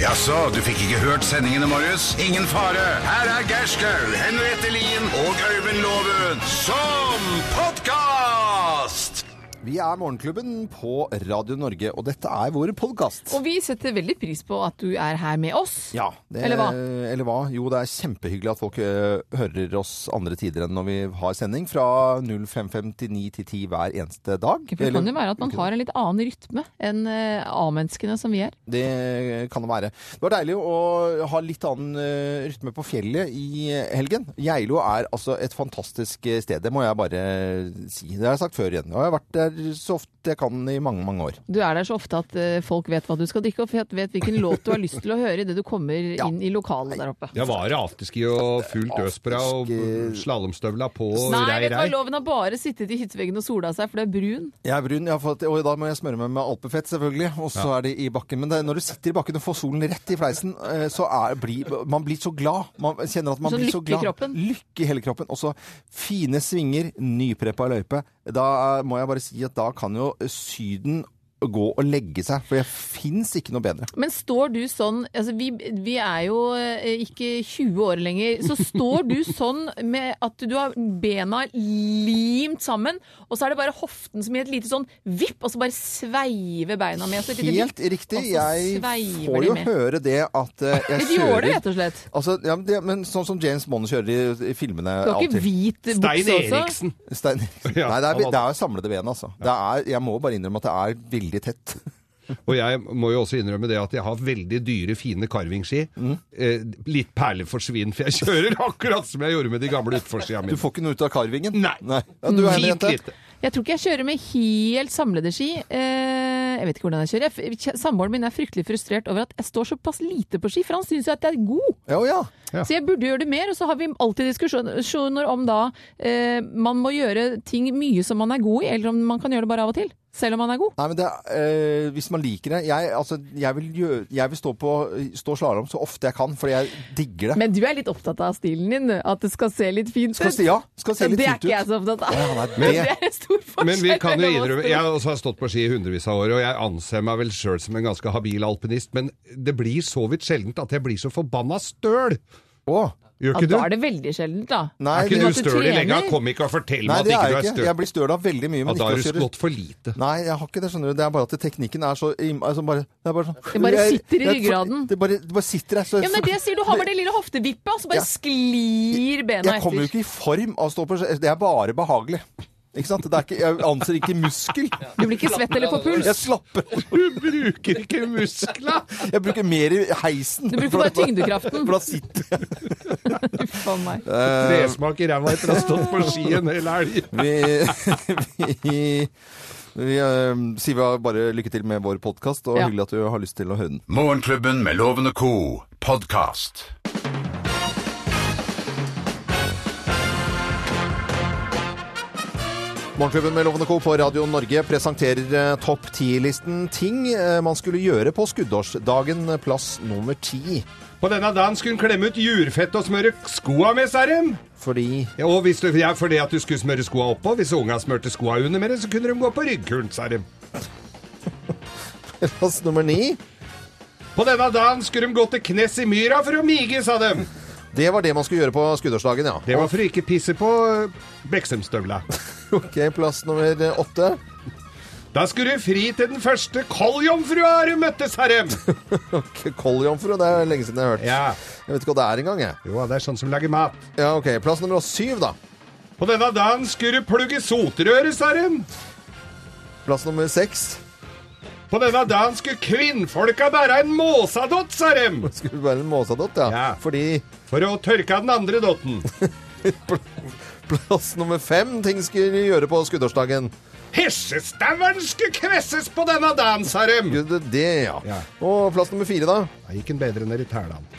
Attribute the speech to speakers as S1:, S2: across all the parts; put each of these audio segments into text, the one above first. S1: Jaså, du fikk ikke hørt sendingene, Marius? Ingen fare. Her er Gerskaug, Henriette Lien og Øyvind Loven som podkast!
S2: Vi er Morgenklubben på Radio Norge, og dette er vår podkast.
S3: Og vi setter veldig pris på at du er her med oss.
S2: Ja, det,
S3: Eller hva?
S2: eller hva? Jo, det er kjempehyggelig at folk ø, hører oss andre tider enn når vi har sending. Fra 05.59 til 10 hver eneste dag.
S3: Det kan jo være at man har en litt annen rytme enn eh, A-menneskene som vi er.
S2: Det kan det være. Det var deilig å ha litt annen eh, rytme på fjellet i helgen. Geilo er altså et fantastisk eh, sted, det må jeg bare si. Det har jeg sagt før igjen. Og jeg har vært der så ofte jeg kan i mange, mange år.
S3: Du er der så ofte at eh, folk vet hva du skal drikke, og fet- vet hvilken låt du har lyst til å høre idet du kommer inn i lokalet der oppe.
S4: Ja, var det afterski og fullt øs på deg og
S2: Afterski-
S4: slalåmstøvla på og
S3: Nei,
S4: rei,
S3: vet du hva,
S4: rei?
S3: loven har bare sittet i hytteveggen og sola seg, for det er brun.
S2: Jeg er brun, jeg har fått, og da må jeg smøre meg med alpefett selvfølgelig, og så er det i bakken. Men det, når du sitter i bakken og får solen rett i fleisen, eh, så er, blir man blir så glad. Man kjenner at man
S3: Sånn
S2: blir så
S3: lykke i
S2: glad.
S3: kroppen.
S2: Lykke i hele kroppen. Og så fine svinger, nypreppa løype. Da eh, må jeg bare si at da kan jo Syden gå og legge seg, for det fins ikke noe bedre.
S3: Men står du sånn altså vi, vi er jo eh, ikke 20 år lenger. Så står du sånn med at du har bena limt sammen, og så er det bare hoften som gir et lite sånn vipp, og så bare sveiver beina med. Så et lite
S2: Helt
S3: vipp,
S2: riktig.
S3: og så
S2: Jeg
S3: sveiver
S2: får
S3: de
S2: jo
S3: med.
S2: høre det at eh, jeg
S3: De gjør det,
S2: kjører
S3: rett og slett.
S2: Altså, ja, men det, men sånn som James Bond kjører i, i filmene
S3: Du har
S2: av og til.
S3: ikke hvit
S4: Stein
S3: bukse også?
S4: Eriksen.
S2: Stein Eriksen.
S4: Ja,
S2: Nei, det er,
S4: han hadde-
S2: det er samlede ben, altså. Det er, jeg må bare innrømme at det er veldig tett.
S4: Og jeg må jo også innrømme det at jeg har veldig dyre, fine carvingski.
S2: Mm.
S4: Eh, litt perler for svin, for jeg kjører akkurat som jeg gjorde med de gamle utforskia
S2: Du
S4: mine.
S2: får ikke noe ut av karvingen.
S4: Nei.
S2: Ja, du er enig,
S4: Fint
S2: jente?
S4: lite.
S3: Jeg tror ikke jeg kjører med helt samlede ski. Eh, jeg vet ikke hvordan jeg kjører. Jeg f- Samboeren min er fryktelig frustrert over at jeg står såpass lite på ski, for han syns jo at jeg er god.
S2: Ja, ja.
S4: Ja.
S3: Så jeg burde gjøre det mer, og så har vi alltid diskusjoner om da eh, man må gjøre ting mye som man er god i, eller om man kan gjøre det bare av og til. Selv om man er god.
S2: Nei, men det er, eh, hvis man liker det Jeg, altså, jeg, vil, gjøre, jeg vil stå, på- stå slalåm så ofte jeg kan, fordi jeg digger det.
S3: Men du er litt opptatt av stilen din, at det skal se litt fint ut.
S2: Skal si ja. Skal se litt
S3: det er
S2: fint
S3: ikke jeg
S2: ut.
S3: så opptatt av.
S2: Ja, nei, det-
S3: det er en stor forskjell.
S4: Men vi kan jo
S3: mellom oss
S4: innrømme
S3: to.
S4: Jeg også har stått på ski i hundrevis av år, og jeg anser meg vel sjøl som en ganske habil alpinist, men det blir så vidt sjeldent at jeg blir så forbanna støl!
S2: Å,
S4: Gjør
S3: ja,
S4: ikke du?
S3: Da er det veldig sjeldent, da.
S2: nei,
S4: Er
S2: det,
S4: ikke
S3: at
S4: du
S3: du
S4: støl i legga?
S3: trener?
S4: Kom ikke og fortell meg
S2: nei,
S4: at
S2: det er
S4: ikke du er
S2: jeg ikke.
S4: støl.
S2: Jeg blir støl av veldig mye,
S4: Ja,
S2: men
S4: da
S2: ikke
S4: har
S2: å
S4: du
S2: kjøre
S4: slått for lite.
S2: Nei, jeg har ikke det, skjønner du. Det er bare at teknikken er så im- altså bare, Det er bare sånn
S3: Det bare
S2: Jeg-
S3: sitter i
S2: jeg-
S3: ryggraden.
S2: Det bare, det bare sitter der. Så,
S3: Ja, men det er det jeg sier, du har bare det lille hoftevippet, og så bare
S2: Ja.
S3: sklir bena
S2: Jeg kommer jo
S3: etter.
S2: ikke i form av å stå på Det er bare behagelig. Ikke sant? Det er ikke, jeg anser ikke muskel.
S3: Du blir ikke svett eller får puls.
S2: Jeg slapper.
S4: Du bruker ikke muskla!
S2: Jeg bruker mer i heisen.
S3: Du bruker bare tyngdekraften.
S2: For da sitter jeg.
S3: Uff a meg.
S2: Eh,
S4: Tresmak i ræva etter å ha stått på ski en hel elg.
S2: Vi, vi, vi eh, sier vi bare lykke til med vår podkast, og
S3: Ja.
S2: hyggelig at du har lyst til å høre den.
S1: Morgenklubben med Loven og co. podkast.
S2: Morgenklubben med Loven og Co. på Radio Norge presenterer eh, topp ti-listen ting eh, man skulle gjøre på skuddårsdagen, eh, plass nummer ti.
S4: På denne dagen skulle hun klemme ut jurfett og smøre skoa med, sa de.
S2: Fordi
S4: Ja, og hvis du, ja, fordi at du skulle smøre skoa oppå. Hvis unga smørte skoa under med det, så kunne de gå på ryggkulen, sa de.
S2: plass nummer ni
S4: På denne dagen skulle de gå til knes i myra for å mige, sa de.
S2: Det var det man skulle gjøre på skuddårsdagen, ja.
S4: Det var for å ikke pisse på eh, Beksheimstøvla.
S2: Ok, plass nummer eh, åtte.
S4: Da skulle du fri til den første kolljomfrua du møttes, sa de.
S2: Ok, Kolljomfru, det er lenge siden jeg har hørt.
S4: Ja.
S2: Jeg vet ikke hva det er engang, jeg.
S4: Jo, det er sånn som lager mat.
S2: Ja, ok, Plass nummer syv, da.
S4: På denne dagen skulle du plugge sotrøret, sa de.
S2: Plass nummer seks.
S4: På denne dagen skulle kvinnfolka bære en måsadott, sa de.
S2: Skulle være en måsadott, ja.
S4: Ja.
S2: Fordi
S4: For å tørke av den andre dotten.
S2: plass nummer fem ting skulle gjøre på skuddårsdagen.
S4: Hesjestaueren skulle kvesses på denne dagen, sa de.
S2: Gud, det, ja.
S4: Ja.
S2: Og plass nummer fire, da.
S4: Da gikk den bedre ned i tælan.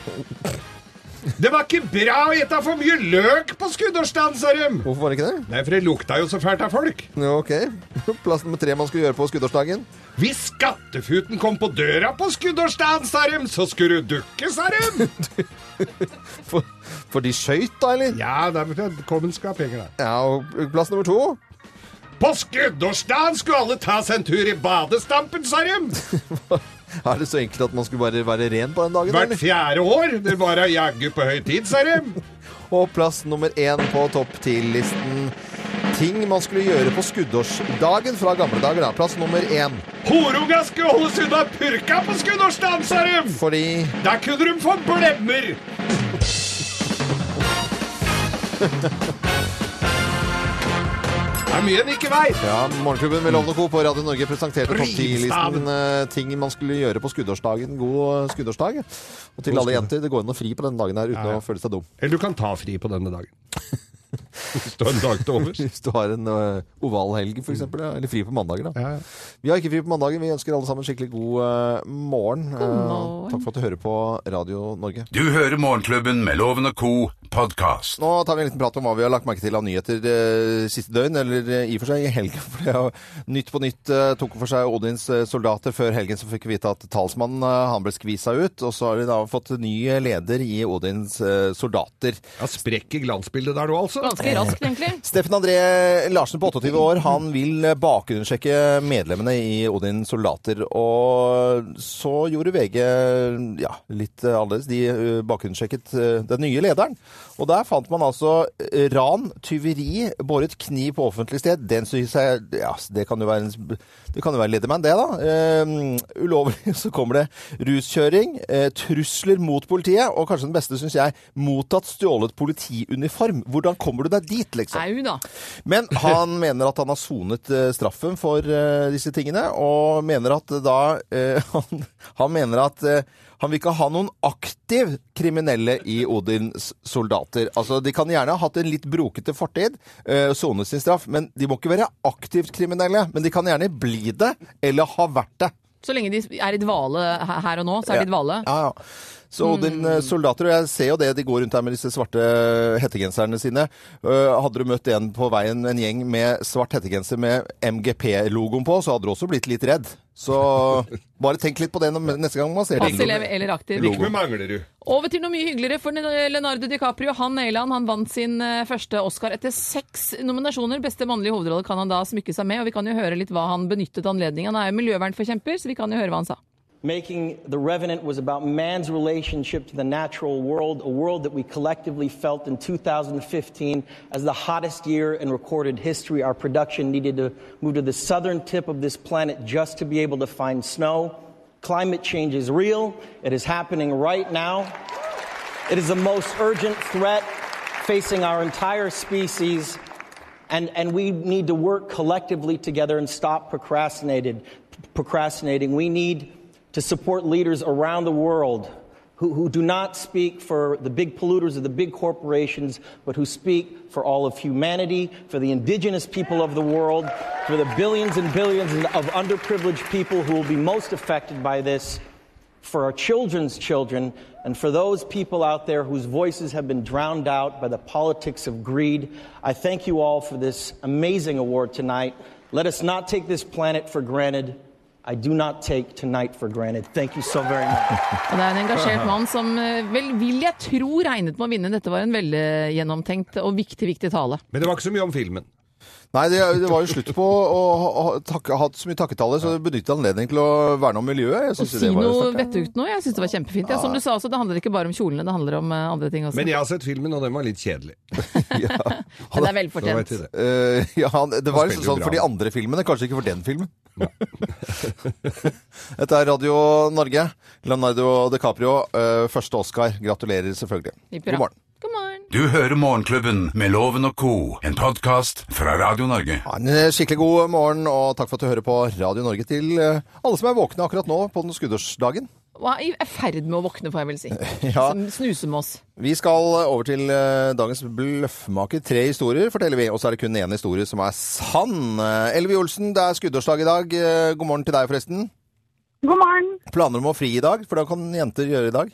S4: Det var ikke bra å ete for mye løk på skuddårsdagen, sa de.
S2: Hvorfor var det ikke det?
S4: Nei, for det lukta jo så fælt av folk.
S2: Ja, ok. Plass nummer tre man skulle gjøre på skuddårsdagen.
S4: Hvis skattefuten kom på døra på skuddårsdagen, sa de, så skulle du dukke, sa de.
S2: For, for de skøyt, da, eller?
S4: Ja, der kom en skal ha penger, da.
S2: Ja, og plass nummer to.
S4: På skuddårsdagen skulle alle ta seg en tur i badestampen, sa de!
S2: Er det så enkelt at man skulle bare være ren på den dagen?
S4: Hvert
S2: eller?
S4: fjerde år. Det var da jaggu på høy tid, sa de.
S2: Og plass nummer én på topp 10-listen. Ting man skulle gjøre på skuddårsdagen fra gamle dager. Da. Plass nummer én.
S4: Horunga skulle holdes unna purka på skuddårsdagen, sa de!
S2: Fordi
S4: Da kunne de få blemmer! Det er mye en ikke veit.
S2: ja, Morgenklubben med Lovende Co. på Radio Norge presenterte topp
S4: Rimstaven.
S2: 10-listen eh, ting man skulle gjøre på skuddårsdagen. God eh, skuddårsdag. Og til alle jenter, det går an å fri på denne dagen her uten
S4: Ja, ja.
S2: å føle seg dum.
S4: Eller du kan ta fri på denne dagen. Hvis du har en dag til overs.
S2: Hvis du har en eh, oval helg,
S4: Mm.
S2: f.eks. Ja. Eller fri på mandager, da.
S4: Ja, ja.
S2: Vi har ikke fri på mandagen. Vi ønsker alle sammen skikkelig god eh, morgen. Eh,
S3: morgen.
S2: takk for at du hører på Radio Norge.
S1: Du hører Morgenklubben med Loven og Co. podkast.
S2: Nå tar vi en liten prat om hva vi har lagt merke til av nyheter eh, siste døgn, eller eh, i og for seg i helgen. For det er jo Nytt på nytt eh, tok for seg Odins eh, soldater. Før helgen så fikk vi vite at talsmannen eh, han ble skvisa ut. Og så har vi da fått ny eh, leder i Odins eh, soldater.
S4: Ja, Sprekker glansbildet der nå, altså?
S3: Ganske raskt, egentlig.
S2: Steffen André Larsen på 28 år han vil eh, bakgrunnssjekke medlemmene i Odin soldater. Og så gjorde VG ja, litt eh, annerledes. De eh, bakgrunnssjekket eh, den nye lederen. Og der fant man altså eh, ran, tyveri, båret kniv på offentlig sted. Den synes jeg ja, Det kan jo være, en, det kan jo være ledemann, det, da. Eh, ulovlig. Så kommer det ruskjøring, eh, trusler mot politiet, og kanskje den beste, syns jeg, mottatt stjålet politiuniform. Hvordan kommer du deg dit, liksom?
S3: Au da.
S2: Men han mener at han har sonet eh, straffen for eh, disse tingene, og mener at da eh, han, han mener at eh, han vil ikke ha noen aktiv kriminelle i Odins soldater. Altså, de kan gjerne ha hatt en litt brokete fortid, eh, sonet sin straff, men de må ikke være aktivt kriminelle. Men de kan gjerne bli det, eller ha vært det.
S3: Så lenge de er i dvale he- her og nå, så er de i dvale.
S2: Ja, ja. Så Odin eh, soldater, og jeg ser jo det, de går rundt her med disse svarte hettegenserne sine. Eh, hadde du møtt en på veien, en gjeng med svart hettegenser med MGP-logoen på, så hadde du også blitt litt redd. Så bare tenk litt på det når- neste gang man ser
S3: Passiv
S2: det.
S3: eller aktiv.
S4: Like med Manglerud.
S3: Over til noe mye hyggeligere for Leonardo DiCaprio. Han Neiland han vant sin eh, første Oscar etter seks nominasjoner. Beste mannlige hovedrolle kan han da smykke seg med, og vi kan jo høre litt hva han benyttet anledningen. Han er jo miljøvernforkjemper, så vi kan jo høre hva han sa.
S5: Making The Revenant was about man's relationship to the natural world, a world that we collectively felt in 2015 as the hottest year in recorded history. Our production needed to move to the southern tip of this planet just to be able to find snow. Climate change is real, it is happening right now. It is the most urgent threat facing our entire species. And, and we need to work collectively together and stop procrastinated, procrastinating. We need to support leaders around the world who, who do not speak for the big polluters of the big corporations, but who speak for all of humanity, for the indigenous people of the world, for the billions and billions of underprivileged people who will be most affected by this for our children's children, and for those people out there whose voices have been drowned out by the politics of greed. I thank you all for this amazing award tonight. Let us not take this planet for granted. I do not take tonight for granted. Thank you so very much.
S3: Og det er en engasjert mann som eh, vel vil jeg tro regnet med å vinne. Dette var en velgjennomtenkt og viktig, viktig tale.
S4: Men det var ikke så mye om filmen.
S2: Nei, det, det var jo slutt på å ha- ha takke- ha hatt så mye takketale, så benyttet anledningen til å verne om miljøet. Jeg
S3: Å
S2: synes jo
S3: si
S2: det var
S3: noe
S2: sterkt, ja.
S3: vettugt nå, jeg syns det var kjempefint. Ja, som du sa også, det handler ikke bare om kjolene, det handler om eh, andre ting også.
S4: Men jeg har sett filmen, og den var litt kjedelig.
S3: Men det er
S4: Så vet
S3: velfortjent.
S4: vi det.
S2: Eh, ja, han- det var
S4: Han spiller
S2: liksom
S4: jo
S2: sånn
S4: bra.
S2: for de andre filmene, kanskje ikke for den filmen. Dette er Radio Norge. Leonardo DiCaprio, eh, første Oscar. Gratulerer selvfølgelig.
S3: Hipp hurra.
S2: God morgen.
S3: God morgen.
S1: Du hører Morgenklubben med Loven og Co., en podkast fra Radio Norge.
S2: Ha en eh, skikkelig god morgen, og takk for at du hører på Radio Norge til eh, alle som er våkne akkurat nå på den skuddårsdagen.
S3: Hva er i ferd med å våkne, får jeg vel si.
S2: Ja.
S3: Som snuser med oss.
S2: Vi skal over til eh, dagens bløffmaker. Tre historier forteller vi, og så er det kun én historie som er sann. Eh, Elvi Olsen, det er skuddårsdag i dag. Eh, God morgen til deg, forresten.
S6: God morgen.
S2: Planer om å fri i dag, for det kan jenter gjøre i dag.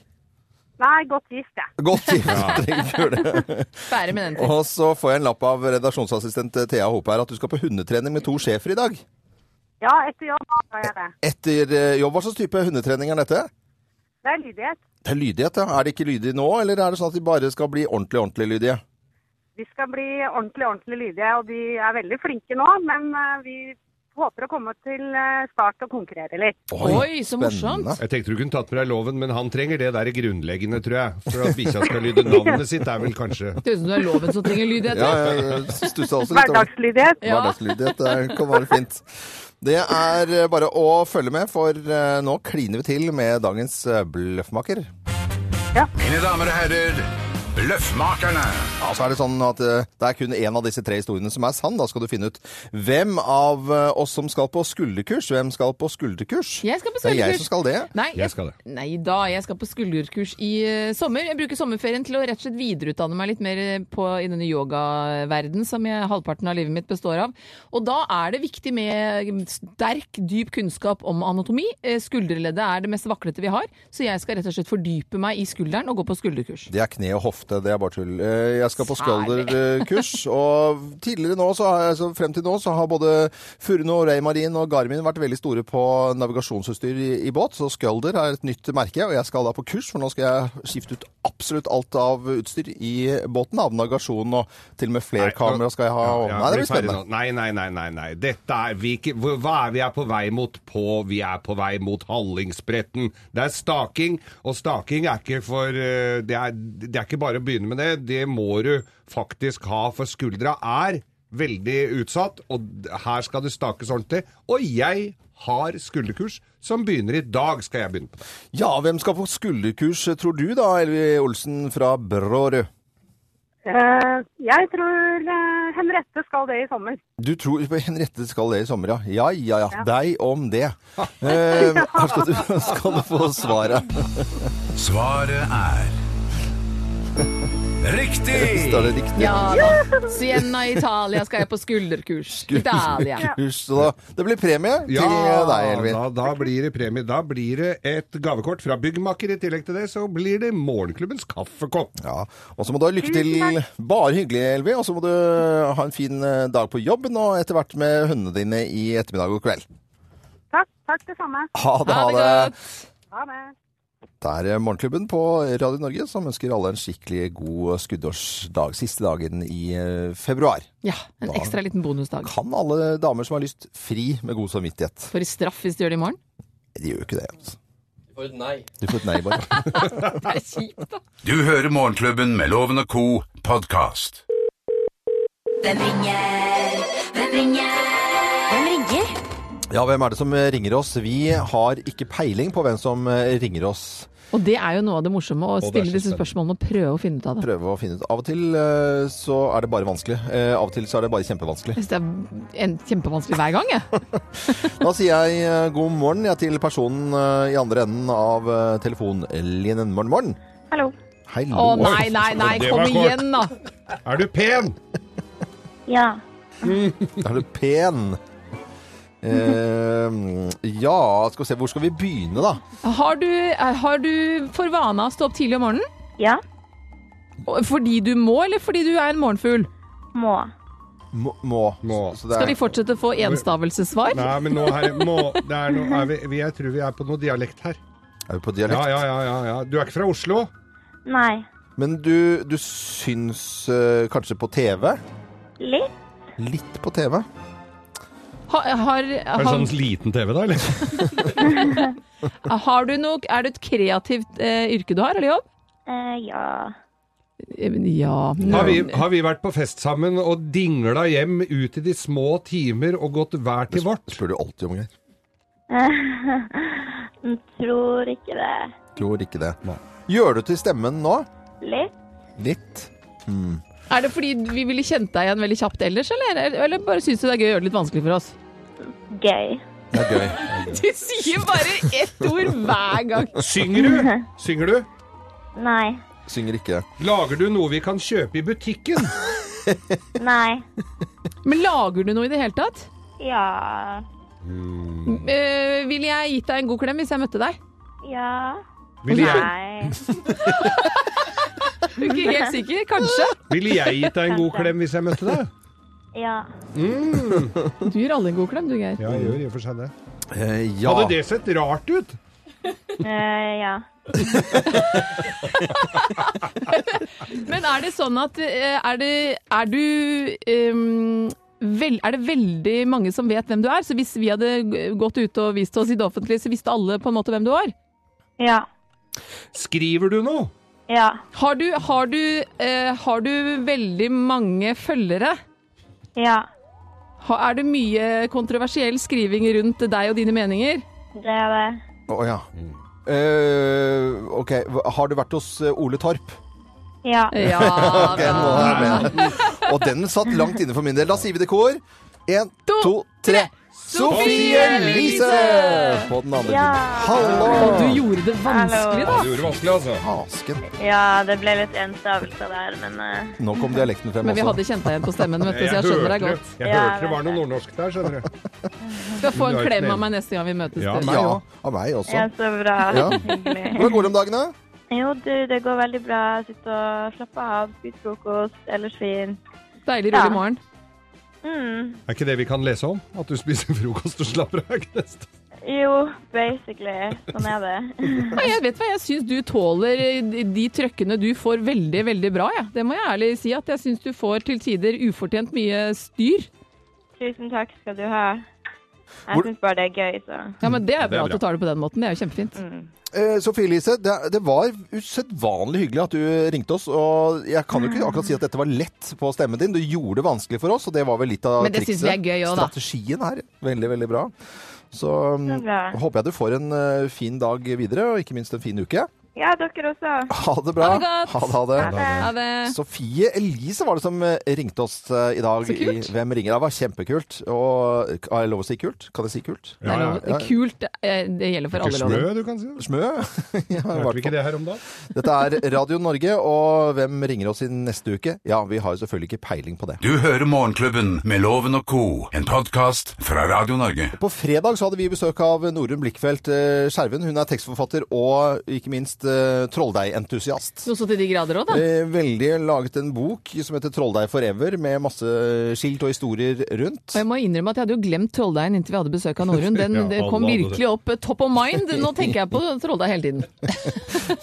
S6: Nei, godt gift, jeg.
S2: Godt gift. Trenger ikke gjøre det.
S3: Bære med den til.
S2: Og så får jeg en lapp av redaksjonsassistent eh, Thea Hope her at du skal på hundetrening med to sjefer i dag.
S6: Ja, etter jobb skal jeg det.
S2: Etter eh, jobb, hva slags type hundetrening er dette?
S6: Det er lydighet.
S2: Det er lydighet, ja. Er de ikke lydige nå, eller er det sånn at de bare skal bli ordentlig, ordentlig lydige?
S6: De skal bli ordentlig, ordentlig lydige, og de er veldig flinke nå. Men eh, vi håper å komme til eh, start og konkurrere litt.
S3: Oi, så morsomt.
S4: Jeg tenkte du kunne tatt med deg loven, men han trenger det der grunnleggende, tror jeg. For at bikkja skal lyde navnet sitt, er vel kanskje
S3: Det høres ut som det er loven som trenger lyd
S2: Ja,
S3: etter.
S2: jeg stussa også litt over
S6: Hverdagslydighet.
S3: Ja.
S2: hverdagslydighet. Det kan være fint. Det er eh, bare å følge med, for eh, nå kliner vi til med dagens eh, bløffmaker.
S1: Mine damer og herrer, Bløffmakerne.
S2: Ja, så er det sånn at eh, det er kun én av disse tre historiene som er sann. Da skal du finne ut hvem av eh, oss som skal på skulderkurs. Hvem skal på skulderkurs?
S3: Jeg skal på
S2: Det er
S3: skulderkurs.
S2: jeg som skal det.
S3: Nei,
S4: Jeg skal det.
S3: Nei da, jeg skal på skulderkurs i eh, sommer. Jeg bruker sommerferien til å rett og slett videreutdanne meg litt mer eh, på, i denne yogaverden som jeg, halvparten av livet mitt består av. Og da er det viktig med eh, sterk, dyp kunnskap om anatomi. Eh, Skulderleddet er det mest vaklete vi har, så jeg skal rett og slett fordype meg i skulderen og gå på skulderkurs.
S2: Det er kne og hofte, det er bare tull. Eh, Jeg skal på
S3: Særlig.
S2: skulderkurs, og tidligere nå, så har, jeg- altså, frem til nå, så har både Furune og Raymarin og Garmin vært veldig store på navigasjonsutstyr i, i båt, så skulder er et nytt merke, og jeg skal da på kurs, for nå skal jeg skifte ut absolutt alt av utstyr i båten, av navigasjon og til og med flere kamera skal jeg ha. og-
S4: Ja,
S2: Nei, det
S4: bli ferdig
S2: blir spennende.
S4: nå. sånn- Nei, nei, nei, nei, nei. Dette er vi ikke hvor- Hva er vi er på vei mot på? Vi er på vei mot Hallingsbretten. Det er staking, og staking er ikke for eh, Det er, det er ikke bare å begynne med det. Det må du faktisk ha, for skuldra er veldig utsatt, og d- her skal det stakes ordentlig. Og jeg har skulderkurs som begynner i dag, skal jeg begynne på det.
S2: Ja, hvem skal på skulderkurs, tror du da, Elvi Olsen fra Brårød?
S6: Eh, jeg tror eh, Henriette skal det i sommer.
S2: Du tror på Henriette skal det i sommer, ja. Ja, ja, ja. Deg om det. Eh, her skal du, skal du få svaret.
S1: Svaret er
S2: Står
S1: Riktig!
S2: det riktig?
S3: Ja da. Siena, Italia skal jeg på skulderkurs. Italia.
S2: Kurs, så da, det blir premie til deg, Elvi.
S4: da, da blir det premie. Da blir det et gavekort fra byggmaker. I tillegg til det så blir det Morgenklubbens kaffekopp.
S2: Ja, og så må du ha lykke til.
S6: Tusen
S2: Bare hyggelig, Elvi. Og så må du ha en fin eh, dag på jobben, og etter hvert med hundene dine i ettermiddag og kveld.
S6: Takk, takk det samme.
S2: Ha det, ha det.
S6: Ha det.
S2: Det er eh, Morgenklubben på Radio Norge som ønsker alle en skikkelig god eh, skuddårsdag. Siste dagen i eh, februar.
S3: Ja, en ekstra liten bonusdag.
S2: Kan alle damer som har lyst fri med god samvittighet?
S3: For straff hvis du gjør det i morgen.
S2: De gjør jo ikke det. Altså.
S7: For et nei.
S2: Du får et nei, bare.
S3: Det er kjipt, da.
S1: Du hører Morgenklubben med Loven og co. podkast.
S8: Hvem ringer? Hvem ringer? Hvem ringer?
S2: Ja, hvem er det som eh, ringer oss? Vi har ikke peiling på hvem som eh, ringer oss.
S3: Og det er jo noe av det morsomme, å
S4: det er
S3: stille
S4: så
S3: disse
S4: spennende.
S3: spørsmålene og prøve å finne ut av det.
S2: Prøve å finne ut. Av og til eh, så er det bare vanskelig. Eh, Av og til så er det bare kjempevanskelig.
S3: Jeg synes det er en kjempevanskelig hver gang, jeg.
S2: Da sier jeg eh, god morgen jeg, til personen eh, i andre enden av eh, telefonlinjen. Morgen, morgen.
S6: Hallo.
S2: Hei,
S3: Å nei, nei, nei,
S4: Det
S3: kom
S4: var kort.
S3: igjen, da!
S4: Er du pen?
S6: Ja.
S2: Er du pen? Eh, ja, skal vi se. Hvor skal vi begynne, da?
S3: Har du, eh, har du for vana å stå opp tidlig om morgenen?
S9: Ja,
S3: Og- Fordi du må, eller fordi du er en morgenfugl?
S9: må.
S2: Må. må.
S4: Må.
S2: Så det
S3: Skal
S2: er,
S3: de fortsette å få enstavelsessvar?
S4: Nei, men nå er det, må, det er noe, er vi, vi- Jeg tror vi er på noe dialekt her.
S2: er vi på
S4: Ja,
S2: dialekt?
S4: ja, ja. ja, ja. Du er ikke fra Oslo?
S9: Nei.
S2: Men du, du syns eh, kanskje på TV?
S9: Litt.
S2: Litt på TV.
S3: Har, har, har,
S4: sånn liten TV, da? eller?
S3: har du noe Er det et kreativt eh, yrke du har, eller jobb?
S9: Eh, ja.
S3: Eh, men Ja
S4: Har vi, har vi vært på fest sammen og dingla hjem ut i de små timer og gått hver til vårt?
S2: Spør du alltid om greier.
S9: Jeg tror ikke det.
S2: Tror ikke det. Gjør du til stemmen nå?
S9: Litt.
S2: Litt.
S3: Er det fordi vi ville kjent deg igjen veldig kjapt ellers, eller, eller bare syns du det er gøy å gjøre det litt vanskelig for oss?
S9: Gøy.
S2: Det er gøy.
S3: Du sier bare ett ord hver gang.
S4: Synger du? Synger du?
S9: Nei.
S2: Synger ikke.
S4: Lager du noe vi kan kjøpe i butikken?
S9: Nei.
S3: Men lager du noe i det hele tatt?
S9: Ja.
S3: Eh, ville jeg gitt deg en god klem hvis jeg møtte deg?
S9: Ja.
S4: Ville jeg,
S9: Nei.
S3: Du er ikke helt sikker? Kanskje?
S4: ville jeg gitt deg en god klem hvis jeg møtte deg?
S9: Ja.
S3: Du gir alle en god klem, du, Geir.
S4: Ja, jeg gjør i og for seg det.
S2: Eh, ja.
S4: Hadde det sett rart ut?
S9: Eh, ja.
S3: Men er det sånn at eh, er det Er du ehm, Vel, er det veldig mange som vet hvem du er? Så hvis vi hadde g- gått ut og vist oss i det offentlige, så visste alle på en måte hvem du var?
S9: Ja.
S4: Skriver du noe?
S9: Ja.
S3: Har du, har du, eh, har du veldig mange følgere?
S9: Ja.
S3: Ha, er det mye kontroversiell skriving rundt deg og dine meninger?
S9: Det er det.
S2: Å ja.
S4: Mm.
S2: Eh, OK. Hva- Har du vært hos eh, Ole Torp?
S9: Ja.
S3: Ja
S2: Ok, nå
S3: da.
S2: er jeg med. Og den satt langt inne for min del. Da sier vi det i kor. Én, to,
S3: To, tre.
S2: tre. Sofie Elise!
S3: Elise!
S2: På den andre
S9: Ja.
S2: siden. Hallo!
S3: Du gjorde det vanskelig, da.
S4: Det gjorde det vanskelig, altså.
S2: Hasken.
S9: ja, det ble litt én stavelse der, men eh,
S2: Nå kom dialekten frem
S3: Men vi
S2: også.
S3: hadde kjent deg igjen på stemmen, vet du, så jeg skjønner deg
S4: hørte-
S3: godt.
S4: Jeg
S9: Ja,
S4: hørte det
S9: jeg
S4: var
S9: vet
S4: noe
S9: det.
S4: nordnorsk der, skjønner du.
S3: Skal få en
S4: Lørte
S3: klem
S4: ned.
S3: av meg neste gang vi møtes.
S4: Ja,
S3: Sture.
S4: meg.
S2: Ja, av meg også.
S9: ja, så bra.
S2: Sånn. Ja.
S9: Hyggelig.
S2: Hvordan går det om dagen, da?
S9: Jo, du, det går veldig bra. Sitte og slappe av, spise frokost, ellers fint.
S3: Deilig
S9: Ja.
S3: rolig morgen.
S9: Mm.
S4: Er ikke det vi kan lese om? At du spiser frokost og slapper av? ikke det?
S9: Jo, basically. Sånn er det.
S3: Nei, Jeg vet hva, jeg syns du tåler eh, de trøkkene du får veldig, veldig bra, jeg. Det må jeg ærlig si, at jeg syns du får til tider ufortjent mye styr.
S9: Tusen takk skal du ha.
S2: Hvor-
S9: Jeg syns bare det er gøy, så.
S3: Ja, men det er
S4: det er
S3: bra at
S4: bra.
S3: du tar det på den måten, det er jo kjempefint.
S9: Mm.
S2: Eh, Sofie Elise, det, det var usedvanlig hyggelig at du ringte oss. Og jeg kan jo ikke akkurat si at dette var lett på stemmen din. Du gjorde det vanskelig for oss, og det var vel litt av
S3: Men det synes vi er gøy også, da.
S2: Strategien her. Veldig, veldig bra. Så mm,
S9: Så bra.
S2: håper jeg du får en eh, fin dag videre, og ikke minst en fin uke.
S9: Ja, dere også.
S2: Ha det bra.
S3: Ha det godt.
S2: Ha det.
S9: Ha det.
S3: Ja, det...
S2: Sofie Elise var det som eh, ringte oss eh, i dag.
S3: Så kult.
S2: I Hvem ringer? Det var kjempekult. Og, er det lov å si kult? Kan jeg si kult?
S3: Nei, lov- det er kult. eh, Det gjelder for
S4: Ikke
S3: alle lover.
S4: smø, du kan si. det.
S2: Smø? ja, i
S4: Hørte
S2: hvert
S4: vi
S2: fall.
S4: ikke det her om dagen?
S2: Dette er Radio Norge, og hvem ringer oss i neste uke? Ja, vi har jo selvfølgelig ikke peiling på det.
S1: Du hører Morgenklubben med Loven og co., en podkast fra Radio Norge.
S2: På fredag så hadde vi besøk av Norunn Blikkfeldt eh, Skjerven. Hun er tekstforfatter og ikke minst eh, trolldeigentusiast.
S3: Noe så til de grader òg, da.
S2: Eh, Veldig laget en bok som heter 'Trolldeig forever', med masse skilt og historier rundt.
S3: Og jeg må innrømme at jeg hadde jo glemt Trolldeigen inntil vi hadde besøk av Norun. Den
S4: Ja,
S3: det
S4: alle
S3: kom
S4: hadde det.
S3: virkelig opp eh, top of mind. Nå tenker jeg på Trolldeig hele tiden.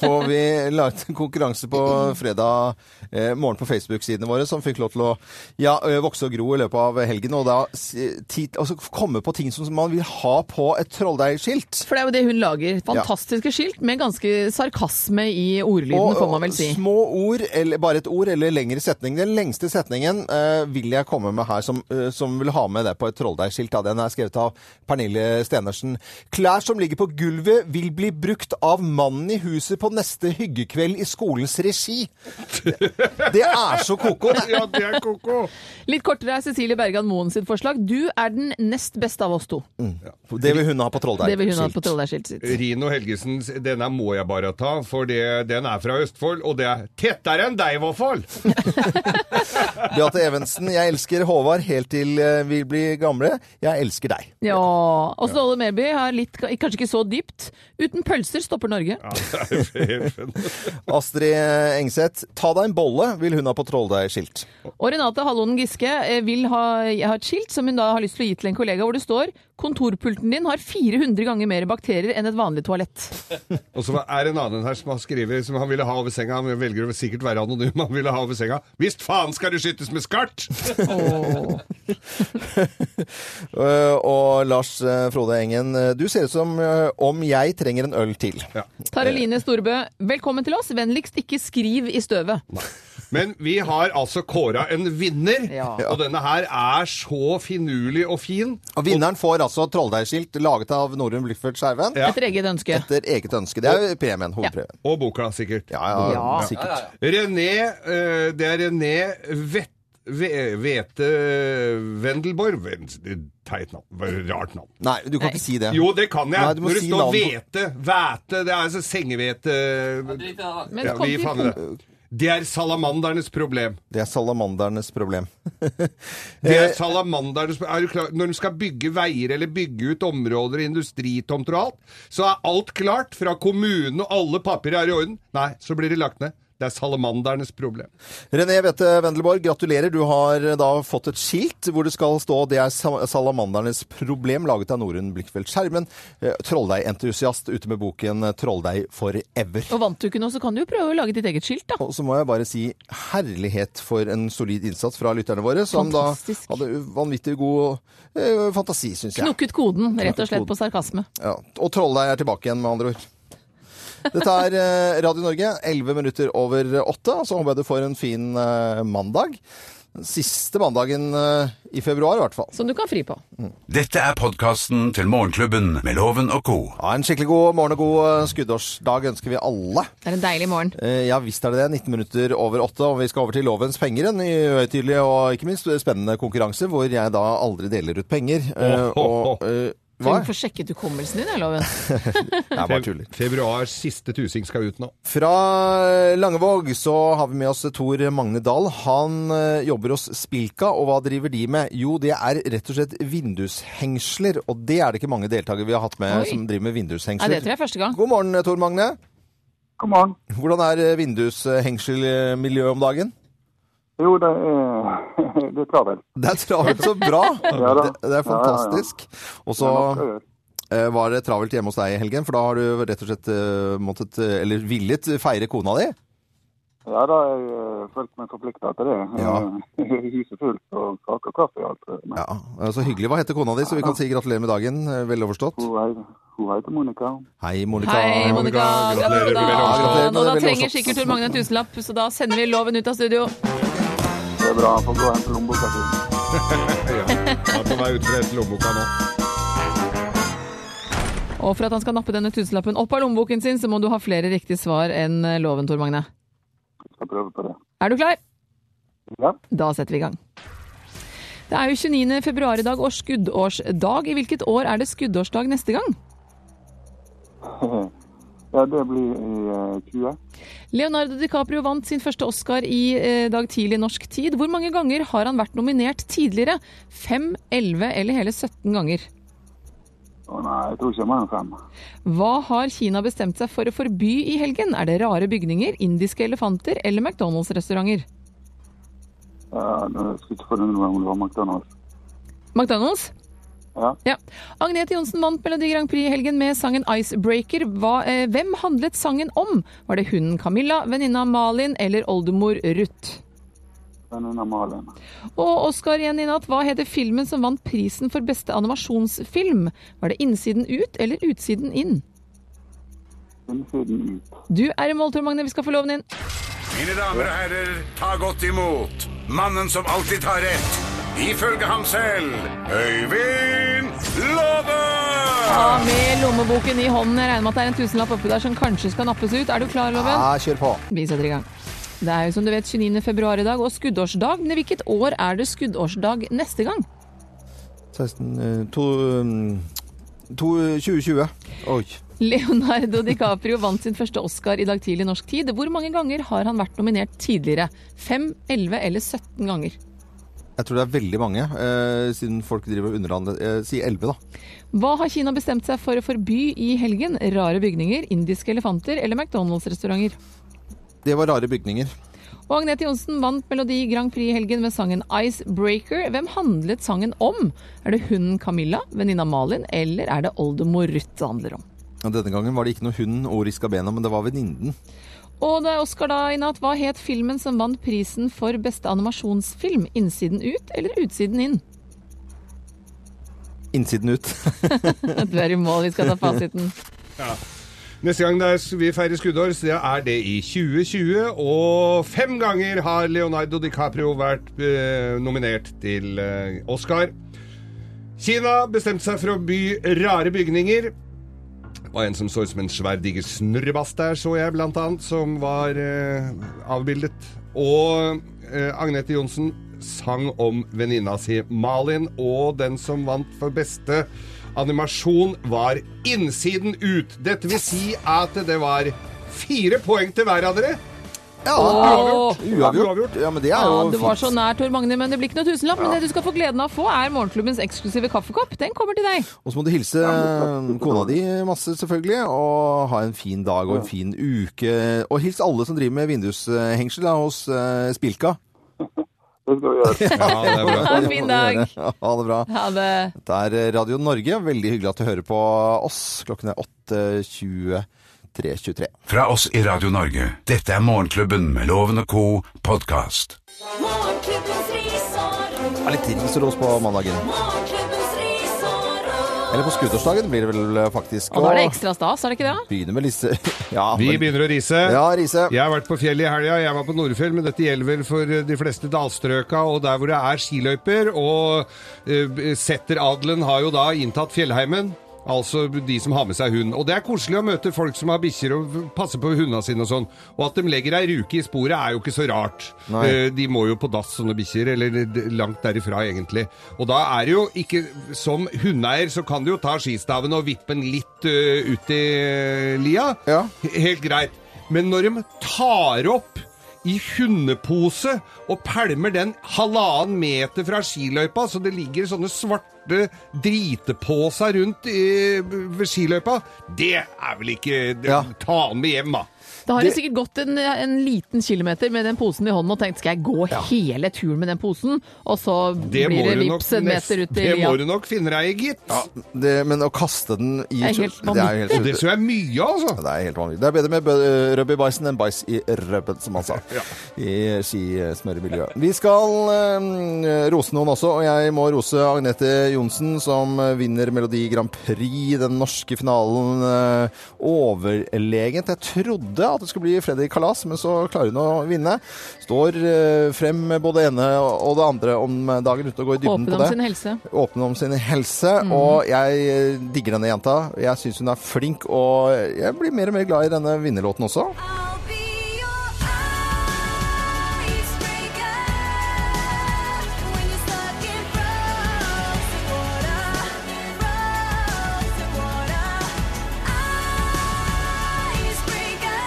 S2: Og vi laget en konkurranse på fredag eh, morgen på Facebook-sidene våre, som fikk lov til å ja, ø, vokse og gro i løpet av helgen. Og da s- ti, altså, komme på ting som man vil ha på et trolldeigskilt.
S3: For det er jo det hun lager. Fantastiske skilt med ganske sarkasme i ordlyden, får man vel si.
S2: små ord, eller bare et ord, eller lengre setning. Den lengste setningen eh, vil jeg komme med her, som, eh, som vil ha med det på et trolldeigskilt. da. Den er skrevet av Pernille Stenersen. Klær som ligger på gulvet vil bli brukt av mannen i huset på neste hyggekveld i skolens regi. Det er så koko. Det
S4: Ja, det er koko!
S3: Litt kortere er Cecilie Bergan Moen sitt forslag. Du er den nest beste av oss to.
S2: Det vil hun ha på Trolldeig.
S3: Det vil hun ha på Trolldeigskiltet sitt.
S4: Rino Helgesens, denne må jeg bare ta, for det, den er fra Østfold, og det er tettere enn deg, i hvert fall!
S2: Beate Evensen, jeg elsker Håvard helt til eh, vi blir gamle. Jeg elsker deg.
S3: Ja. Åsne Olle Merby har litt, kanskje ikke så dypt. Uten pølser stopper Norge.
S4: Ja, det er helt fenomenalt.
S2: Astrid Engseth, ta deg en bolle, vil hun ha på Trolldeig-skilt.
S3: Og Renate Hallonen Giske eh, vil ha, ha et skilt som hun da har lyst til å gi til en kollega, hvor det står 'Kontorpulten din har 400 ganger mer bakterier enn et vanlig toalett'.
S4: Og så er det en annen her som har skrevet som han ville ha over senga. Han velger å sikkert være anonym, han ville ha over senga. Visst faen skal det skytes med skart!
S3: Åh.
S2: Eh, og Lars eh, Frode Engen, eh, du ser ut som eh, om jeg trenger en øl til.
S3: Tareline Storbø, velkommen til oss. Vennligst ikke skriv i støvet.
S4: Men vi har altså kåra en vinner,
S3: Ja.
S4: og denne her er så finurlig og fin.
S2: Og vinneren får altså Trolldeig-skilt laget av Norun Blikkfeldt Skjerven
S4: Ja.
S3: Etter eget ønske.
S2: etter eget ønske. Det er jo premien, hovedpremien.
S4: Og boka, sikkert.
S2: Ja, ja,
S3: Ja.
S2: sikkert.
S4: René eh, Det er René Vett... Ve- Vete Wendelborg Ven- Teit navn. Bare Rart navn.
S2: Nei, du kan ikke si det.
S4: Jo, det kan jeg!
S2: Nei, du må
S4: Når det
S2: si
S4: står
S2: navnet
S4: hvete, væte Det er altså sengehvete
S3: Men
S4: ja,
S3: kom
S4: vi
S3: til
S4: fanger det. Det er salamandernes problem.
S2: Det er salamandernes problem.
S4: Det
S2: Eh,
S4: er salamandernes pro- er du klar? Når de skal bygge veier eller bygge ut områder, industritomter og alt, så er alt klart fra kommunen og alle papirer er i orden. Nei, så blir det lagt ned. Det er salamandernes problem.
S2: René Wette Wendelborg, gratulerer. Du har eh, da fått et skilt hvor det skal stå 'Det er sa- salamandernes problem', laget av Norunn Blikkfeldt Skjermen. Eh, Trolldeigentusiast ute med boken eh, 'Trolldeig forever'.
S3: Og vant du ikke noe, så kan du jo prøve å lage ditt eget skilt, da.
S2: Og så må jeg bare si herlighet for en solid innsats fra lytterne våre, som
S3: Fantastisk.
S2: da hadde vanvittig god eh, fantasi, syns jeg.
S3: Knukket koden, rett og slett, på sarkasme.
S2: Ja. Og Trolldeig er tilbake igjen, med andre ord. Dette er eh, Radio Norge, 11 minutter over åtte. Så håper jeg du får en fin eh, mandag. Den Siste mandagen eh, i februar, i hvert fall.
S3: Som du kan fri på.
S1: Dette er podkasten til Morgenklubben med Loven og co.
S2: Ja, en skikkelig god morgen og god eh, skuddårsdag ønsker vi alle.
S3: Det er en deilig morgen.
S2: Eh, Ja visst er det det. 19 minutter over åtte, og vi skal over til Lovens penger. En uhøytidelig og ikke minst spennende konkurranse hvor jeg da aldri deler ut penger. Eh, Og eh, hva?
S3: Du får sjekket hukommelsen din, jeg loven.
S2: Jeg bare tuller.
S4: Februars siste tusing skal ut nå.
S2: Fra eh, Langevåg så har vi med oss Tor Magne Dahl. Han eh, jobber hos Spilka, og hva driver de med? Jo, det er rett og slett vindushengsler, og det er det ikke mange deltakere vi har hatt med
S3: Oi.
S2: som driver med
S3: Nei,
S2: vindushengsler.
S3: det tror jeg er første gang.
S2: God morgen, Tor Magne.
S7: God morgen.
S2: Hvordan er eh, vindushengselmiljøet om dagen?
S7: Jo, det er, det er travelt.
S2: Det er travelt så bra!
S7: Ja da.
S2: det, det er fantastisk. Og så
S7: Det er nok å gjøre.
S2: eh, var det travelt hjemme hos deg i helgen, for da har du rett og slett eh, måttet, eh, eller villet, feire kona di.
S7: Ja da, jeg eh, følte meg forplikta til det.
S2: Ja.
S7: Eh, Huset fullt og kake og kaffe og alt. det. Men
S2: Ja, eh, Så hyggelig. Hva heter kona di, så vi kan si gratulerer med dagen. eh, Vel overstått.
S7: hun, er, hun heter Monica.
S2: Hei, Monica.
S3: Hei, Monica. Gratulerer med
S4: Gratulerer med veldig
S2: oppstått.
S3: dagen. Og da
S2: Veldig
S3: trenger
S2: oppstått.
S3: sikkert Tor Magne en tusenlapp, så da sender vi loven ut av studio.
S7: Det er bra. Får gå og hente lommeboka si.
S4: Ja, er på vei ut fra et lommeboka nå.
S3: Og for at han skal nappe denne tusenlappen opp av lommeboken sin, så må du ha flere riktige svar enn eh, loven, Tor Magne.
S7: Skal prøve på det.
S3: Er du klar?
S7: Ja.
S3: Da setter vi i gang. Det er jo 29. februar i dag og skuddårsdag. I hvilket år er det skuddårsdag neste gang?
S7: ja, det blir i eh, 20.
S3: Leonardo DiCaprio vant sin første Oscar i eh, dag tidlig norsk tid. Hvor mange ganger har han vært nominert tidligere? Fem, elleve eller hele 17 ganger?
S7: Å nei, jeg tror ikke jeg må ha en fem.
S3: Hva har Kina bestemt seg for å forby i helgen? Er det rare bygninger, indiske elefanter eller McDonald's-restauranter?
S7: Ja, det skulle ikke forundre meg om det var McDonald's.
S3: McDonald's?
S7: Ja.
S3: Ja. Agnete Johnsen vant Melodi Grand Prix i helgen med sangen 'Icebreaker'. Hva, eh, hvem handlet sangen om? Var det hunden Camilla, venninna Malin eller oldemor Ruth?
S7: Den er Malin.
S3: Og Oscar igjen i natt, hva heter filmen som vant prisen for beste animasjonsfilm? Var det 'Innsiden ut' eller 'Utsiden inn'?
S7: Innsiden ut.
S3: Du er i mål, Tor Magne. Vi skal få loven inn.
S1: Mine damer og herrer, ta godt imot mannen som alltid tar rett. Ifølge ham selv Øyvind Låve!
S3: Ja, med lommeboken i hånden. Jeg regner med at det er en tusenlapp oppi der som kanskje skal nappes ut. Er du klar, Loven?
S2: Ja, kjør på.
S3: Vi setter i gang. Det er jo som du vet 29. februar i dag og skuddårsdag. Men i hvilket år er det skuddårsdag neste gang?
S2: 16, eh, to, mm, to, eh, 2020. Oi.
S3: Leonardo DiCaprio vant sin første Oscar i dag tidlig norsk tid. Hvor mange ganger har han vært nominert tidligere? 5, 11 eller 17 ganger?
S2: Jeg tror det er veldig mange, eh, siden folk driver underhandlet. Eh, si 11, da.
S3: Hva har Kina bestemt seg for å forby i helgen? Rare bygninger, indiske elefanter eller McDonald's-restauranter?
S2: Det var rare bygninger.
S3: Og Agnete Johnsen vant Melodi Grand Prix i helgen med sangen 'Icebreaker'. Hvem handlet sangen om? Er det hunden Camilla, venninna Malin, eller er det oldemor Ruth det handler om?
S2: Og denne gangen var det ikke noe hund og riska bena, men det var venninnen.
S3: Og det er Oscar da i natt. Hva het filmen som vant prisen for beste animasjonsfilm? 'Innsiden ut' eller 'Utsiden inn'?
S2: Innsiden ut.
S3: Du er i mål, vi skal ta fasiten.
S4: Neste gang det er, vi feirer skuddår, så er det i 2020. Og fem ganger har Leonardo DiCaprio vært eh, nominert til eh, Oscar. Kina bestemte seg for å by rare bygninger. Det var en som så ut som en svær diger snurrebass der, så jeg blant annet, som var eh, avbildet. Og eh, Agnete Johnsen sang om venninna si Malin, og den som vant for beste animasjon var Innsiden ut. Dette vil si at det var fire poeng til hver av dere.
S2: Ja,
S3: Åh.
S2: uavgjort.
S4: Uavgjort.
S2: Ja, men det er jo
S3: Ja, det var
S2: fint.
S3: så nær, Tor Magne, men det blir ikke noe tusenlapp. Men det du skal få gleden av å få, er morgenklubbens eksklusive kaffekopp. Den kommer til deg.
S2: Og så må du hilse eh, kona di masse, selvfølgelig, og ha en fin dag og en fin uke. Og hils alle som driver med vindushengsel da, hos eh, Spilka.
S7: Det skal vi gjøre.
S4: Ja, det er bra.
S3: Ha en fin dag.
S2: Ha det bra.
S3: Ha det.
S2: Det er eh, Radio Norge. Veldig hyggelig at du hører på oss. Klokken er 8.23.23.
S1: Fra oss i Radio Norge, dette er Morgenklubben med Loven og Co. podkast.
S8: Morgenklubbens ris og ros.
S2: Det er litt ris og ros på mandagen.
S8: Morgenklubbens ris og ros.
S2: Eller på skuddårsdagen blir det vel eh, faktisk.
S3: Og da er det ekstra stas, er det ikke det?
S2: Begynner med Lise. Ja,
S4: Vi
S2: men-
S4: begynner å rise.
S2: Ja, Riise.
S4: Jeg har vært på fjellet i helga. Jeg var på Nordfjell, men dette gjelder vel for eh, de fleste dalstrøka og der hvor det er skiløyper. Og eh, setteradelen har jo da inntatt fjellheimen. Altså de som har med seg hund. Og det er koselig å møte folk som har bikkjer og passer på hundene sine og sånn. Og at de legger ei ruke i sporet er jo ikke så rart.
S2: Nei.
S4: Eh, De må jo på dass, sånne bikkjer, eller d- langt derifra egentlig. Og da er det jo ikke Som hundeeier så kan du jo ta skistaven og vippe den litt eh, ut i eh, lia.
S2: Ja.
S4: He- Helt greit. Men når de tar opp i hundepose og pælmer den halvannen meter fra skiløypa, så det ligger sånne svarte driteposer rundt i, ved skiløypa, det er vel ikke det-
S2: Ja.
S4: Ta den med hjem, da.
S3: Da har de sikkert gått en, en liten kilometer med den posen i hånden og tenkt skal jeg gå hele turen med den posen, og så
S4: Det må,
S3: blir det
S4: du nok,
S3: vips en
S4: nest,
S3: meter ut i
S4: det
S3: lia.
S4: må du nok finne deg i, gitt.
S2: Det, men å kaste den i
S3: Det er helt
S2: Det er jo helt
S4: Og det tror jeg er mye, altså.
S2: Ja, Det er helt vanlig. Det er bedre med bø- røbb i bæsjen enn bæsj i røbben, som han sa. I skismøremiljøet. Vi skal eh, rose noen også, og jeg må rose Agnete Johnsen, som eh, vinner Melodi Grand Prix, den norske finalen. eh, overlegent. Jeg trodde at det skulle bli Fredrik Kalas, men så klarer hun å vinne. Står eh, frem med både ene og det andre om dagen ute og går i dybden
S3: Åpne
S2: på
S3: om
S2: det
S3: sin helse.
S2: åpne om sin helse,
S3: Mm.
S2: og jeg eh, digger denne jenta. Jeg syns hun er flink, og jeg blir mer og mer glad i denne vinnerlåten også.
S8: I'll be your icebreaker when you're stuck in frozen water, frozen water. Icebreaker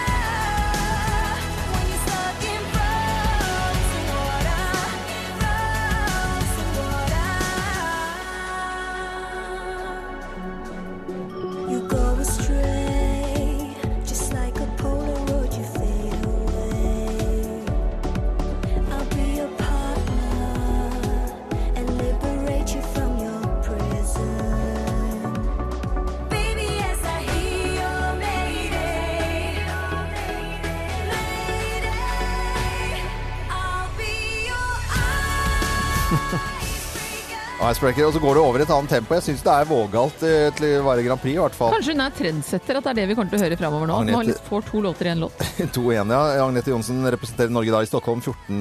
S8: when you're stuck in frozen water, frozen water. You go astray, just like a Polaroid, you fade away. I'll be your partner and liberate you from your prison. Baby, as I hear your mayday, mayday, I'll be your icebreaker.
S2: Icebreaker, og så går det over i et annet tempo. Jeg syns det er vågalt eh, til å være Grand Prix, i hvert fall.
S3: Kanskje hun er trendsetter, at det er det vi kommer til å høre framover nå. at Hun har litt, får to låter i en låt.
S2: 2-1, ja. Agnete Johnsen representerer Norge da i Stockholm 14.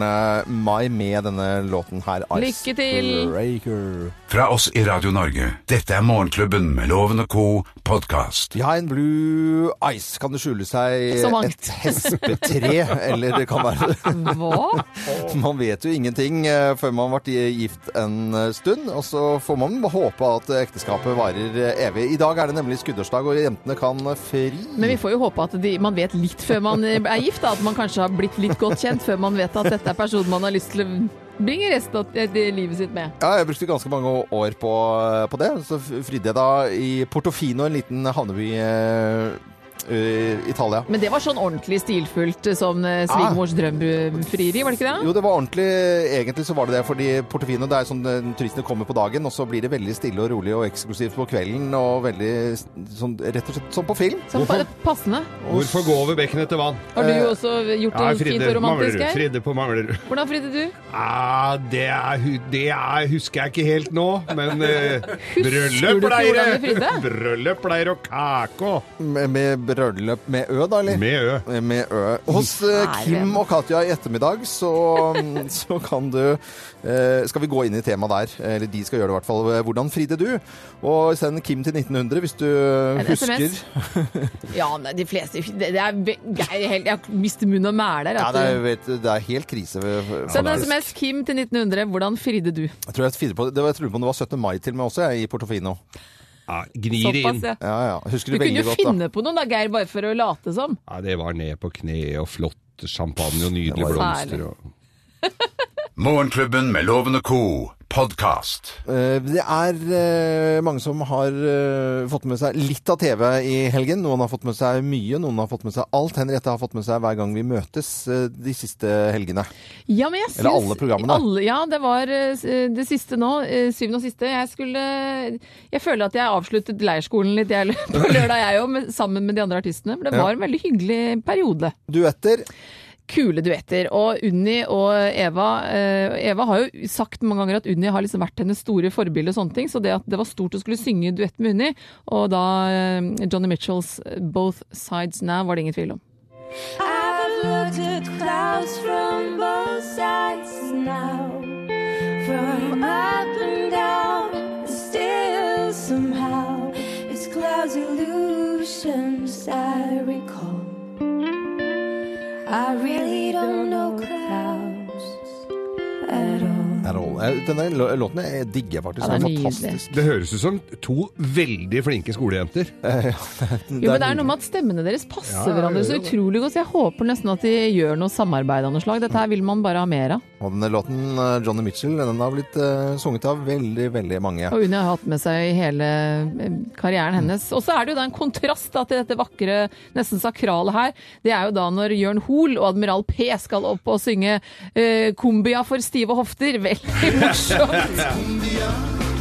S2: mai med denne låten her.
S3: Lykke til!
S2: Icebreaker.
S1: Fra oss i Radio Norge, dette er Morgenklubben med Loven og Co. podkast.
S2: Behind blue ice kan det skjule seg
S3: Så mangt.
S2: et hespetre, eller det kan være
S3: Hva?
S2: Man vet jo ingenting eh, før man har vært i- gift en eh, stund, og så får man bare håpe at eh, ekteskapet varer eh, evig. I dag er det nemlig skuddårsdag, og jentene kan eh, fri.
S3: Men vi får jo håpe at de, man vet litt før man eh, er gift, da. At man kanskje har blitt litt godt kjent før man vet at dette er personen man har lyst til å bringe resten av eh, det livet sitt med.
S2: Ja, jeg brukte ganske mange år på, eh, på det, så f- fridde jeg da i Portofino, en liten havneby i Italia.
S3: Men det var sånn ordentlig stilfullt eh, som eh, svigermors drømfrieri, var det ikke det?
S2: Ah. Jo, det var ordentlig. Egentlig så var det det, fordi Portofino det er sånn eh, turistene kommer på dagen, og så blir det veldig stille og rolig og eksklusivt på kvelden, og veldig s- sånn, rett og slett som på film.
S3: Som pa- passende.
S4: Hvorfor gå over bekken etter vann?
S3: Har
S2: Eh,
S3: du også gjort
S4: Ja,
S3: noe fint
S4: Fridde
S3: og
S4: på
S3: romantisk
S4: Manglerud.
S3: her?
S4: Fridde på Manglerud.
S3: Hvordan fridde du?
S4: Ah, det, er, hu- det er, husker jeg ikke helt nå, men eh,
S3: Husker
S4: bryllup
S3: du ikke
S4: pleier
S3: hvordan vi fridde?
S4: Bryllup pleier å kake og
S2: Med, med bryllup med ø, da, eller?
S4: Med ø.
S2: Med ø. Hos eh,
S3: Nei,
S2: Kim
S3: venn.
S2: og Katja i ettermiddag så, mm, så kan du eh, Skal vi gå inn i temaet der? Eller de skal gjøre det i hvert fall. Hvordan fridde du? Og send Kim til 1900 hvis du husker.
S3: SMS. Ja, nei, de fleste Det, det er ve- jeg, er helt, jeg mister munn og mæler.
S2: Ja,
S3: at
S2: det er,
S3: du-
S2: vet, du, det er helt krise.
S3: Send en
S2: faktisk.
S3: SMS Kim til 1900. Hvordan fridde du?
S2: Jeg tror jeg, fridde på, det var, jeg trodde på om det var 17. mai til meg også, jeg, i Portofino.
S4: Ja, gnir det
S3: Såpass,
S4: inn.
S3: ja.
S2: Ja, ja. Husker
S3: Du
S2: du,
S3: kunne
S2: veldig
S3: jo
S2: godt, da.
S3: finne på noen da, Geir, bare for å late som.
S4: Ja, det var ned på kne og flott champagne og nydelige
S2: Det
S3: var jo
S4: blomster. Og...
S1: Morgenklubben med Loven og Co. Podcast.
S2: Eh, Det er eh, mange som har eh, fått med seg litt av TV i helgen. Noen har fått med seg mye, noen har fått med seg alt. Henriette har fått med seg hver gang vi møtes eh, de siste helgene.
S3: Ja, men jeg syns,
S2: Eller alle programmene.
S3: alle- ja, det var eh, det siste nå. eh, Syvende og siste. Jeg skulle Jeg føler at jeg avsluttet leirskolen litt jeg, på lørdag, jeg òg, sammen med de andre artistene. For det var en veldig hyggelig periode.
S2: Duetter.
S3: kule duetter. Og Unni og Eva eh, Eva har jo sagt mange ganger at Unni har liksom vært hennes store forbilde og sånne ting, så det at det var stort å skulle synge duett med Unni, og da eh, Johnny Mitchells 'Both Sides Now' var det ingen tvil om.
S8: I've looked at clouds from both sides now, from up and down, and still somehow it's clouds illusions I recall. I really don't know clouds at all.
S2: Er all- eh, Denne lå- låten eh, digger jeg faktisk.
S3: Ja,
S2: den
S3: det
S2: er
S3: er
S2: fantastisk.
S4: Det høres ut som to veldig flinke skolejenter.
S3: Jo, men det er noe med at stemmene deres passer
S4: Ja, ja,
S3: hverandre
S4: ja,
S3: så
S4: ja.
S3: utrolig godt, så jeg håper nesten at de gjør noe samarbeid av noe slag. Dette her vil man bare ha mer av.
S2: Og denne låten, eh, Johnny Mitchell, den har blitt eh, sunget av veldig, veldig mange.
S3: Og Unni har hatt med seg i hele eh,
S4: Mm.
S3: karrieren hennes. Og så er det jo da en kontrast da, til dette vakre, nesten sakrale her. Det er jo da når Jørn Hoel og Admiral P skal opp og synge eh, 'Kumbia for stive hofter'. Veldig morsomt.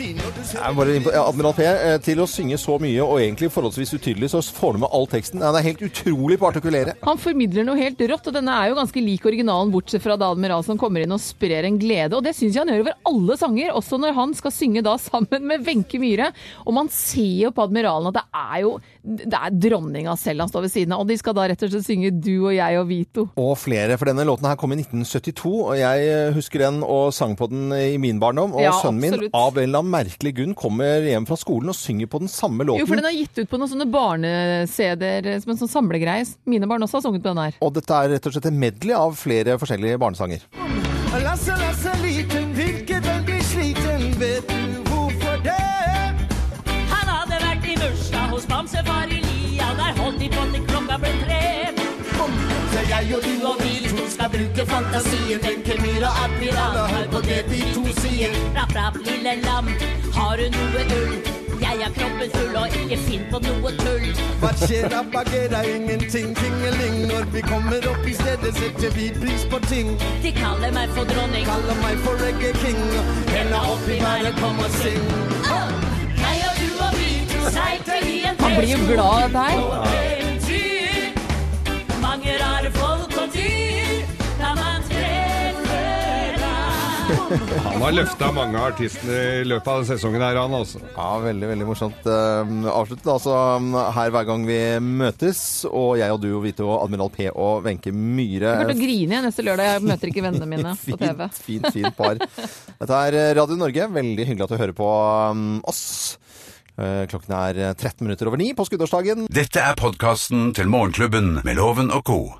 S2: Jeg er bare innpå- ja, Admiral P, eh, til å synge så mye og egentlig forholdsvis utydelig, så får du med all teksten. Han er helt utrolig på å artikulere.
S3: Han formidler noe helt rått, og denne er jo ganske lik originalen, bortsett fra da Admiral som kommer inn og sprer en glede. Og det syns jeg han gjør over alle sanger, også når han skal synge da sammen med Wenche Myhre. Og man ser jo på Admiralen at det er jo det er dronninga selv han står ved siden av, og de skal da rett og slett synge 'Du og jeg og Vito'.
S2: Og flere, for denne låten her kom i 1972, og jeg eh, husker den og sang på den i min barndom. Og
S3: Ja,
S2: sønnen min,
S3: absolutt.
S2: av en eller annen merkelig grunn, kommer hjem fra skolen og synger på den samme låten.
S3: Jo, for den er gitt ut på noen sånne barne-CD-er som en sånn samlegreie. Mine barn også har sunget på den her.
S2: Og dette er rett og slett en medley av flere forskjellige barnesanger.
S10: Lasse, Lasse liten, virkelig blir sliten, vet du hvorfor det?
S8: Han hadde vært i bursdag hos bamsefar Elia. Der holdt de på til klokka ble tre.
S10: Så jeg og du og vi to skal bruke fantasien, enkel myra admiral, og hør på det de to sier.
S8: Rapp, rapp, lille lam, har du noe ull? Jeg har kroppen full, og ikke finn på noe tull.
S10: Hva skjer da, bagera, ingenting, tingeling, når vi kommer opp i stedet, setter vi pris på ting.
S8: De kaller meg for dronning.
S10: Kaller meg for reggae king, henda opp i været, kom og syng.
S8: Jeg og du og vi to seilte i en
S3: Han blir jo glad av dette her.
S8: Og eventyr. Mange rare folk og dyr. Da man treffer deg.
S4: Han har løfta mange av artistene i løpet av denne sesongen her, han altså.
S2: Ja, veldig, veldig morsomt. eh, Avsluttet altså um, her hver gang vi møtes, og jeg og du og Vito og Admiral P og Wenche Myhre.
S3: Jeg kommer til å grine jeg neste lørdag. Jeg møter ikke vennene mine på TV.
S2: Fint, fint, fint par. Dette er Radio Norge. Veldig hyggelig at du hører på um, oss. Eh, Klokken er 13 minutter over ni på skuddårsdagen.
S1: Dette er podkasten til Morgenklubben med Loven og Co.